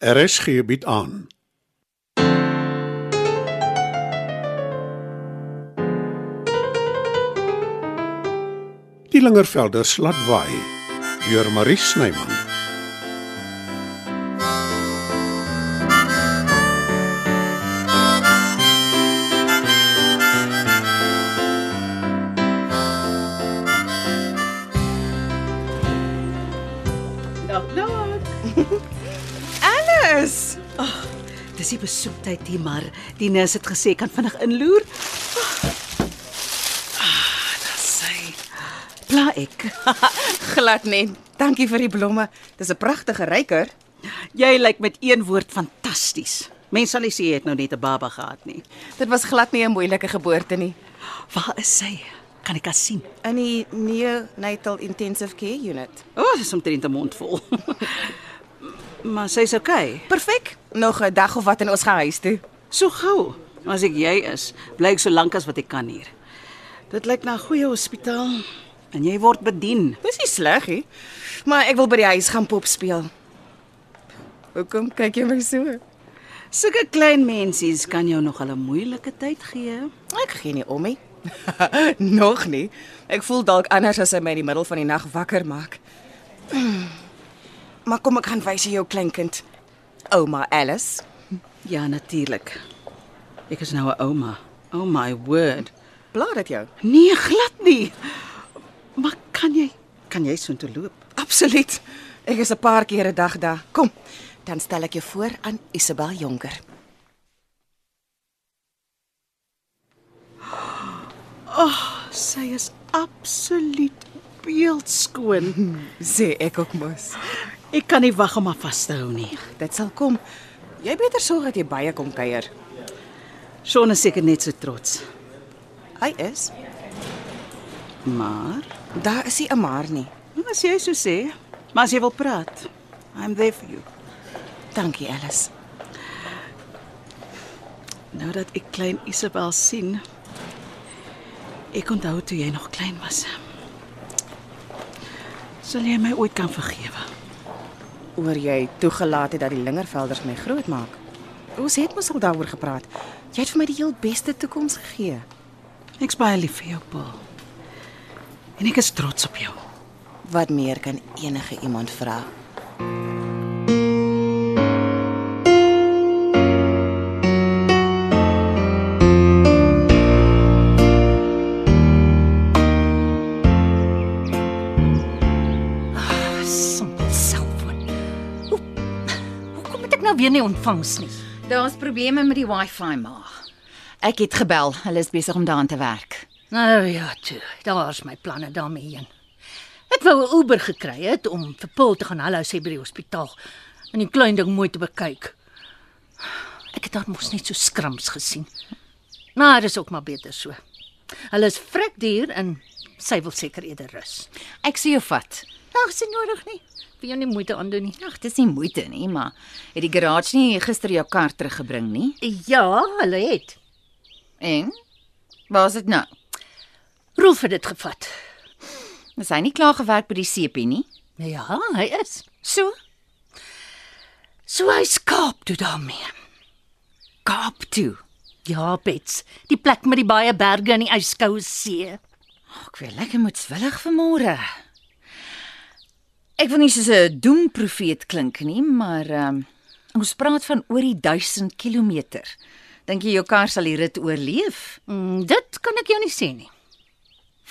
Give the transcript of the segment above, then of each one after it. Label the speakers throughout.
Speaker 1: RSG bied aan. Die Lingervelders laat waai deur Marie Snyman.
Speaker 2: Dag, dag.
Speaker 3: Alice,
Speaker 2: Dis die besoektyd hier, maar Dinus het gesê kan vinnig inloer. Ah,
Speaker 3: sê
Speaker 2: Pla ek.
Speaker 3: glad net. Dankie vir die blomme. Dis 'n pragtige ryker.
Speaker 2: Jy lyk met een woord fantasties. Mense sal nie sê jy het nou net 'n baba gehad nie.
Speaker 3: Dit was glad nie 'n moeilike geboorte nie.
Speaker 2: Waar is sy? Kan ek haar sien?
Speaker 3: In die neonatal intensive care unit.
Speaker 2: O, oh, dis omtrent 'n mond vol. maar sy's okay.
Speaker 3: Perfek. Nog 'n dag of wat en ons gaan huis toe.
Speaker 2: So gou. As ek jy is, bly ek so lank as wat ek kan hier. Dit lyk na 'n goeie hospitaal en jy word bedien.
Speaker 3: Dis nie sleg nie. Maar ek wil by die huis gaan pop speel. Hoekom kyk jy my so?
Speaker 2: Sulke klein mensies kan jou nog 'n moeilike tyd gee.
Speaker 3: Ek gee nie om nie. Nog nie. Ek voel dalk anders as hy my in die middel van die nag wakker maak. Hmm. Maar kom ek gaan wys jy jou kleinkind. Ouma Alice.
Speaker 2: Ja, natuurlik. Ek is nou 'n ouma. Oh my word.
Speaker 3: Blaar dit jou?
Speaker 2: Nee, glad nie. Maar kan jy kan jy so intoe loop?
Speaker 3: Absoluut. Ek is 'n paar keer 'n dag daar. Kom, dan stel ek jou voor aan Isabel Jonker.
Speaker 2: Sy is absoluut beeldskoon.
Speaker 3: Sê ek ook mos.
Speaker 2: Ek kan nie wag om haar vas te hou nie.
Speaker 3: Dit sal kom. Jy beter sorg dat jy baie kom kuier.
Speaker 2: Sean is seker net so trots.
Speaker 3: Hy is.
Speaker 2: Maar,
Speaker 3: Daar is hy 'n maar nie.
Speaker 2: as jy so sê, maar as jy wil praat, I'm there for you.
Speaker 3: Dankie Alice.
Speaker 2: Nou dat ek klein Isabel sien. Ek onthou toe jy nog klein was. Sal jy my ooit kan vergewe?
Speaker 3: Oor jy toegelaat het dat die lingervelders my groot maak. Ons het mos al daaroor gepraat. Jy het vir my die heel beste toekoms gegee.
Speaker 2: Ek's baie lief vir jou, Paul. En ek is trots op jou.
Speaker 3: Wat meer kan enige iemand vra?
Speaker 4: Ah, Sommige selfoon. Hoe hoekom het ek nou weer nie ontvangs nie?
Speaker 5: Daar's probleme met die Wi-Fi maar. Ek het gebel. Hulle is besig om daaraan te werk.
Speaker 4: Nou ja, toe, daar's my planne daarmee heen. Ek wou 'n Uber gekry het om vir Paul te gaan hallo sê by die hospitaal en die klein ding mooi te bekyk. Ek het haar mos net so skrams gesien. Maar dis ook maar beter so. Hulle is frikduur en sy wil seker eerder rus.
Speaker 5: Ek sien jou vat.
Speaker 4: Ag, sien nodig nie. Wie jou nie moeite aandoen nie.
Speaker 5: Ag, dis nie moeite nie, maar het die garage nie gister jou kar teruggebring nie?
Speaker 4: Ja, hulle het.
Speaker 5: En waar's dit nou?
Speaker 4: Rolf het dit gevat.
Speaker 5: Is hy nie klaar gewerk by die CP nie?
Speaker 4: Ja, hy is.
Speaker 5: So,
Speaker 4: So hy skaap toe daarmee.
Speaker 5: Kaap toe.
Speaker 4: Ja, Bets, die plek met die baie berge en die yskoue see.
Speaker 5: Ek weer lekker moedswillig vanmôre. Ek wil nie soos 'n doemprofeet klink nie, maar ehm um, ons praat van oor die 1000 km. Dink jy jou kar sal die rit oorleef?
Speaker 4: Mm, dit kan ek jou nie sê nie.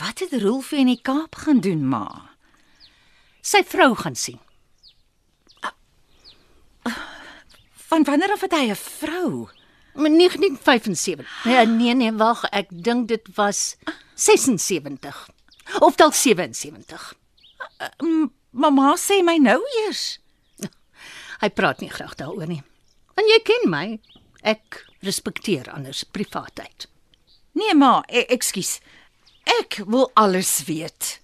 Speaker 5: Wat het Rolf in die Kaap gaan doen, ma?
Speaker 4: Sy vrou gaan sien.
Speaker 5: Van wanneer af het hy 'n vrou?
Speaker 4: Maar 1975. Nee, nee, nee, wag, ek dink dit was 76 of dalk 77.
Speaker 5: Mamma sê my nou eers.
Speaker 4: Hy praat nie graag daaroor nie. En jy ken my. Ek respekteer anders privaatheid.
Speaker 5: Nee, ma, e- ekskuus. Ek wil alles weet.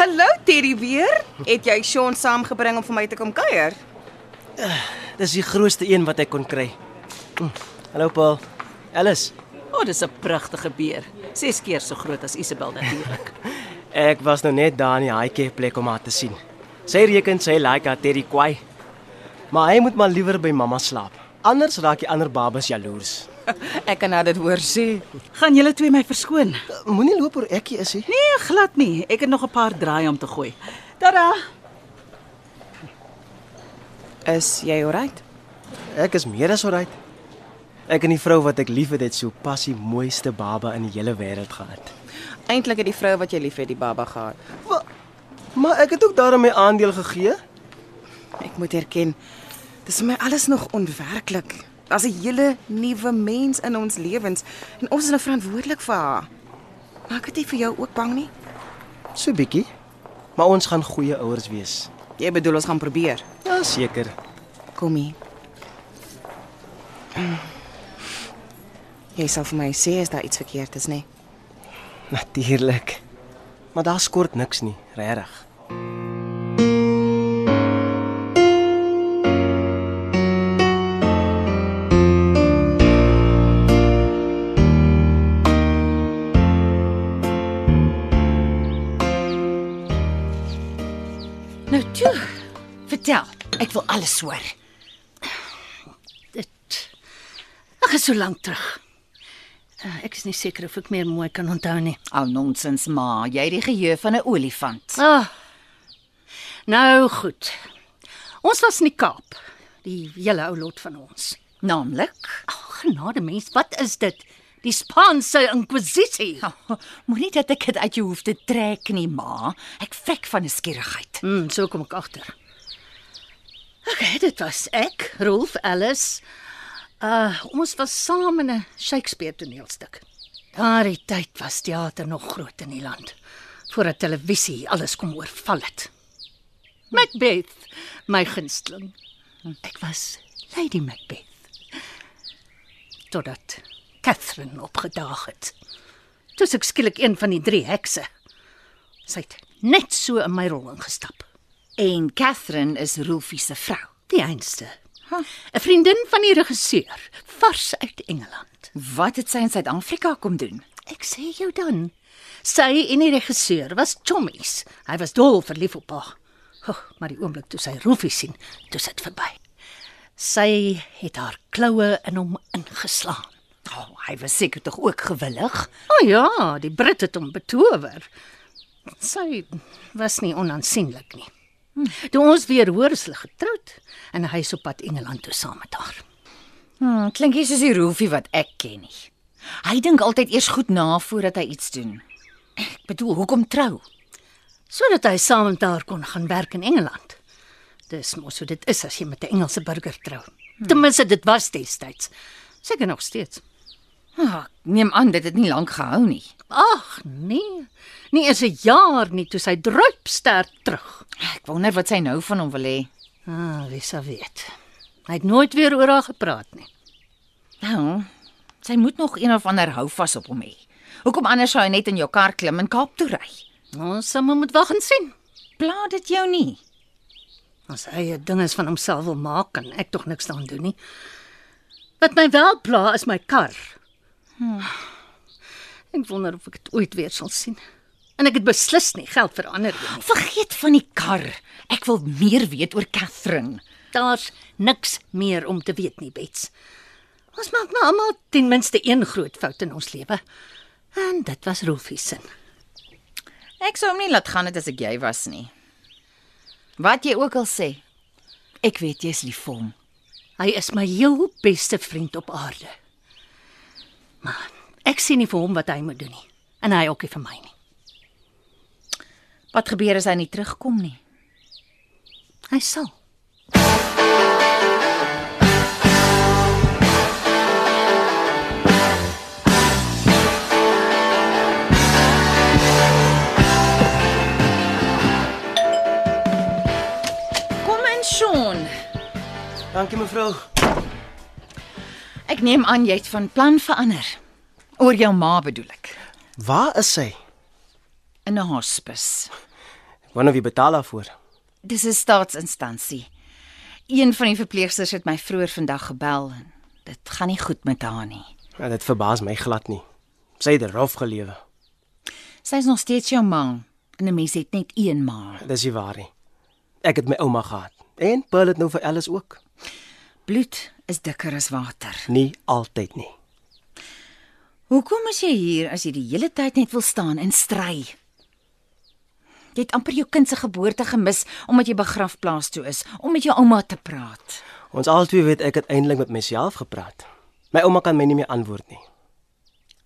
Speaker 3: Hallo Terry weer. Het jy Sean saamgebring om vir my te kom kuier?
Speaker 6: Dis die grootste een wat hy kon kry. Hm. Hallo Paul. Alice,
Speaker 2: O, oh, dis 'n pragtige beer. 6 keer so groot as Isabel natuurlik.
Speaker 6: ek was nou net daar in die haaitjie plek om haar te sien. Sy reken sy like haar Terry kwai. Maar hy moet maar liewer by mamma slaap. Anders raak die ander babas jaloers.
Speaker 3: Ek kan nou dit hoor sê.
Speaker 2: Gaan julle twee my verskoon?
Speaker 6: Moenie loop oor ekkie is hy.
Speaker 2: Nee, glad nie. Ek het nog 'n paar draai om te gooi. Tada.
Speaker 3: Is jy oukei?
Speaker 6: Ek is meer as alright. Ek en die vrou wat ek liefhet het so pas die mooiste baba in die hele wêreld gehad.
Speaker 3: Eintlik het die vrou wat jy liefhet die baba gehad.
Speaker 6: Wa- Maar ek het ook daarin my aandeel gegee.
Speaker 3: Ek moet erken, dis vir my alles nog onwerklik. Daar's 'n hele nuwe mens in ons lewens en ons is nou verantwoordelik vir haar. Maar ek het nie vir jou ook bang nie.
Speaker 6: So bietjie. Maar ons gaan goeie ouers wees.
Speaker 3: Jy bedoel ons gaan probeer.
Speaker 6: Ja, seker.
Speaker 3: Kom hier. Jy sal vir my sê as daar iets verkeerd is, nê?
Speaker 6: Natuurlik. Maar daar skort niks nie, regtig.
Speaker 5: Nou toe. Vertel. Ek wil alles hoor.
Speaker 4: Dit Ag, is so lank terug. Uh, ek is nie seker of ek meer mooi kan onthou nie.
Speaker 5: Ou nonsens ma, jy het die geheue van 'n olifant.
Speaker 4: Ah. Nou goed. Ons was in die Kaap. Die hele ou lot van ons.
Speaker 5: Naamlik,
Speaker 4: Ag, genade mens, wat is dit? Die Spaanse inkwisisie.
Speaker 5: oh, moenie dat ek dit uit jou hoef te trek nie, ma. Ek vrek van nuuskierigheid.
Speaker 4: Mm, so kom ek agter. Okay, dit was ek, Rolf Ellis. Uh, ons was saam in 'n Shakespeare toneelstuk. Daardie tyd was teater nog groot in die land voordat televisie alles kom oorval het. Macbeth, my gunsteling. Ek was Lady Macbeth. Totdat Catherine opgedaag het. Toe is ek skielik een van die drie hekse. Sy het net so in my rol ingestap.
Speaker 5: En Catherine is Rolfie se vrou.
Speaker 4: Die einste. 'n Vriendin van die regisseur, vars uit Engeland.
Speaker 5: Wat het sy in Suid-Afrika kom doen?
Speaker 4: Ek sê jou dan, sy en die regisseur was chommies. Hy was dol verlief op haar. Oh, maar die oomblik toe sy Rolfie sien, toe sit verby. Sy het haar kloue in hom ingeslaan.
Speaker 5: Oh, hy was seker tog ook gewillig.
Speaker 4: O oh ja, die Brit het hom betower. Sy was nie onaansienlik nie.
Speaker 5: Hm.
Speaker 4: Toe ons weer hoor is hulle getroud en hy is op pad Engeland toe saam met haar.
Speaker 5: Hmm, klink nie soos die Rolfie wat ek ken nie. Hy dink altyd eers goed na voordat hy iets doen. Ek bedoel, hoekom trou?
Speaker 4: sodat hy saam met haar kon gaan werk in Engeland. Dis mos hoe dit is as jy met 'n Engelse burger trou. Hmm. Ten minste dit was destyds. Seker nog steeds.
Speaker 5: Ah, ek neem aan dit het nie lank gehou nie.
Speaker 4: Ag nee. Nie eens 'n jaar nie toe sy druipster terug.
Speaker 5: Ek wonder wat sy nou van hom wil hê.
Speaker 4: Ah, wie sou weet. Hy het nooit weer oor haar gepraat nie.
Speaker 5: Nou, sy moet nog een of ander hou vas op hom hê. Hoekom anders sou hy net in jou kar klim en Kaap toe ry?
Speaker 4: Ons sal maar moet wag en sien.
Speaker 5: Pla dit jou nie.
Speaker 4: As hy 'n ding is van homself wil maak, kan ek tog niks daaraan doen nie. Wat my wel pla is my kar. Hmm. Ek wonder of ek dit ooit weer sal sien. En ek het beslis nie geld vir ander een nie.
Speaker 5: Vergeet van die kar. Ek wil meer weet oor Catherine.
Speaker 4: Daar's niks meer om te weet nie, Bets. Ons maak maar almal ten minste een groot fout in ons lewe. En dit was Rolfie se.
Speaker 5: Ek sou hom nie laat gaan het as ek jy was nie. Wat jy ook al sê, ek weet jy's lief vir hom.
Speaker 4: Hy is my heel beste vriend op aarde. Maar ek sien nie vir hom wat hy moet doen nie en hy ook nie vir my nie.
Speaker 5: Wat gebeur as hy nie terugkom nie?
Speaker 4: Hy sal.
Speaker 5: Kom in, Sean.
Speaker 6: Dankie mevrou.
Speaker 5: Ek neem aan jy't van plan verander. Oor jou ma bedoel ek.
Speaker 6: Waar is sy?
Speaker 5: In 'n hospis.
Speaker 6: Wanneer wie betaal daarvoor?
Speaker 5: Dis 'n staatsinstansie. Een van die verpleegsters het my vroeër vandag gebel en dit gaan nie goed met haar nie.
Speaker 6: Ja, dit verbaas my glad nie. Sy het rof gelewe.
Speaker 5: Sy's nog steeds jou ma en 'n mens het net een ma.
Speaker 6: Dis die waarheid. Ek het my ouma gehad en Paul het nou vir Alice ook.
Speaker 5: Bloed is dikker as water.
Speaker 6: Nie altyd nie.
Speaker 5: Hoekom is jy hier as jy die hele tyd net wil staan en stry? Jy het amper jou kind se geboorte gemis omdat jy begrafplaas toe is om met jou ouma te praat.
Speaker 6: Ons albei weet ek het eintlik met myself gepraat. My ouma kan my nie meer antwoord nie.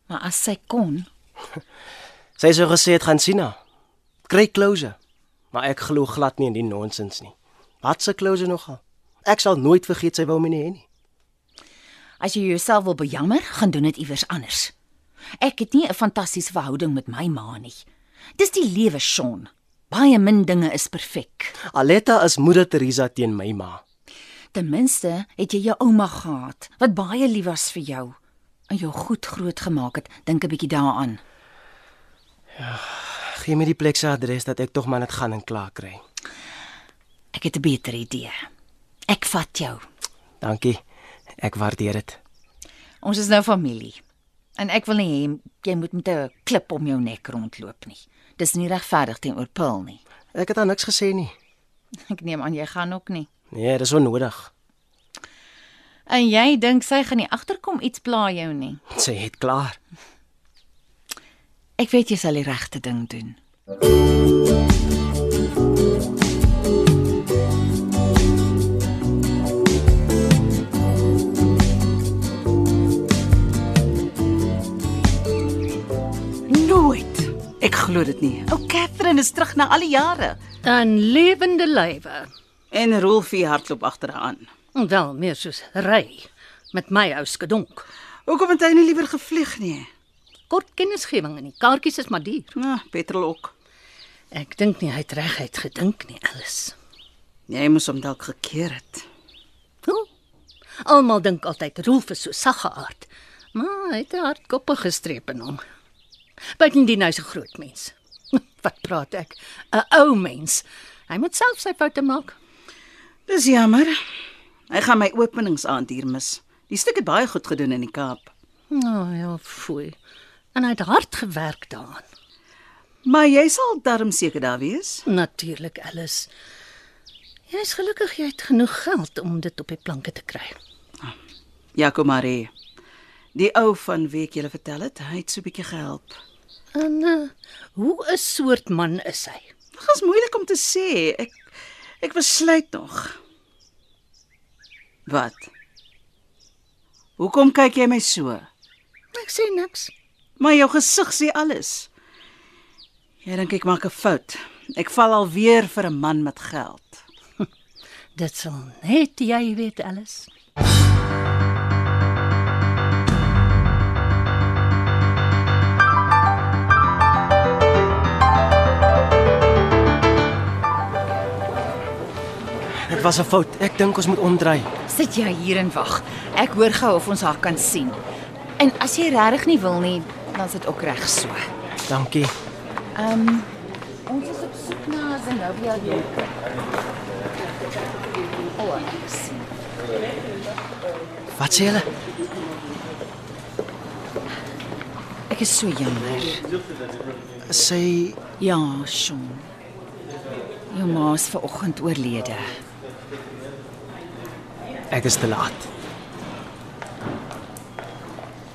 Speaker 5: Maar as sy kon,
Speaker 6: Sy sou gesê het gaan sien haar. Kry closure. Maar ek glo glad nie in die nonsens nie. Wat se closure nogal? Ek sal nooit vergeet sy wou my nie hê nie.
Speaker 5: as jy jouself wil bejammer, gaan doen dit iewers anders. Ek het nie 'n fantastiese verhouding met my ma nie. Dis die lewe, Sean. Baie min dinge is perfek.
Speaker 6: Aletta is moeder Teresa teen my ma.
Speaker 5: Ten minste het jy jou ouma gehad wat baie lief was vir jou en jou goed grootgemaak het. Dink 'n bietjie daaraan.
Speaker 6: Gee my die plek se adres dat ek tog maar net gaan en klaar kry.
Speaker 5: Ek het 'n beter idee. Ek vat jou.
Speaker 6: Dankie. Ek waardeer dit.
Speaker 5: Ons is nou familie. En ek wil nie hê jy moet met 'n klip om jou nek rondloop nie. Dis nie regverdig teenoor Paul nie.
Speaker 6: Ek het haar niks gesê nie.
Speaker 5: Ek neem aan jy gaan ook nie.
Speaker 6: Nee, dis onnodig.
Speaker 5: En jy dink sy gaan nie agterkom iets pla jou nie.
Speaker 6: Sy het klaar.
Speaker 5: Ek weet jy sal die regte ding doen.
Speaker 2: Nooit. Ek glo dit nie. Ou Catherine is terug na al die jare.
Speaker 4: Dan lewende lywe.
Speaker 2: En Rolfie hardloop agter haar aan.
Speaker 4: Wel meer soos ry met my ou skedonk.
Speaker 2: Hoekom het hy nie liewer gevlieg nie?
Speaker 4: Kort kennisgewing en die kaartjies is maar duur.
Speaker 2: Nou, petrol ook.
Speaker 4: Ek dink nie hy het reguit gedink nie, Alice.
Speaker 2: Jy Nee, moes hom dalk gekeer het.
Speaker 4: Hoe? Almal dink altyd Rolf is so saggeaard, maar hy het 'n hardkoppe gestreep in hom. Buitendien hy's 'n groot mens. Wat praat ek? 'n Ou mens. Hy moet self sy foute maak.
Speaker 2: Dis jammer. Hy gaan my openingsaand hier mis. Die stuk het baie goed gedoen in die Kaap.
Speaker 4: Nou oh, ja, foei. En hy het hard gewerk daaraan.
Speaker 2: Maar jy sal darm seker daar wees.
Speaker 4: Natuurlik, Alice. Jy's gelukkig jy het genoeg geld om dit op die planke te kry.
Speaker 2: Jaco Marie. Die ou van wie ek julle vertel het, hy het so 'n bietjie gehelp.
Speaker 4: En uh, hoe 'n soort man is hy?
Speaker 2: Dit is moeilik om te sê. Ek ek besluit nog. Wat? Hoekom kyk jy my so?
Speaker 4: Ek sê niks.
Speaker 2: Maar jou gesig sê alles. Jy dink ek maak 'n fout. Ek val alweer vir 'n man met geld.
Speaker 4: Dit sal net jy weet, Alice.
Speaker 6: Dit was 'n fout. Ek dink ons moet omdraai.
Speaker 5: Sit jy hier en wag. Ek hoor gou of ons haar kan sien. En as jy regtig nie wil nie, dan is dit ook reg so.
Speaker 6: Dankie.
Speaker 5: Ehm um, ons is op soek na Zenobia Jonker. O, ek sien.
Speaker 6: Wat sê hulle?
Speaker 5: Ek is so jammer.
Speaker 6: Sy
Speaker 5: Ja, Sean. Jou ma is ver oggend oorlede.
Speaker 6: ek is te laat.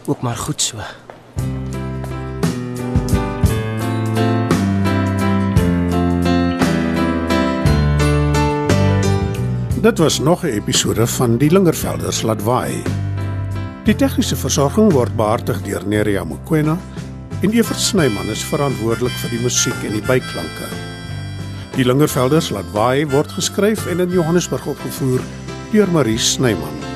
Speaker 6: Ook maar goed so.
Speaker 1: Dit was nog 'n episode van Die Lingervelders laat waai. Die tegniese versorging word behartig deur Neriya Mkwena en Evert Snyman is verantwoordelik vir die musiek en die byklanke. Die Lingervelders laat waai word geskryf en in Johannesburg opgevoer deur Marie Snyman.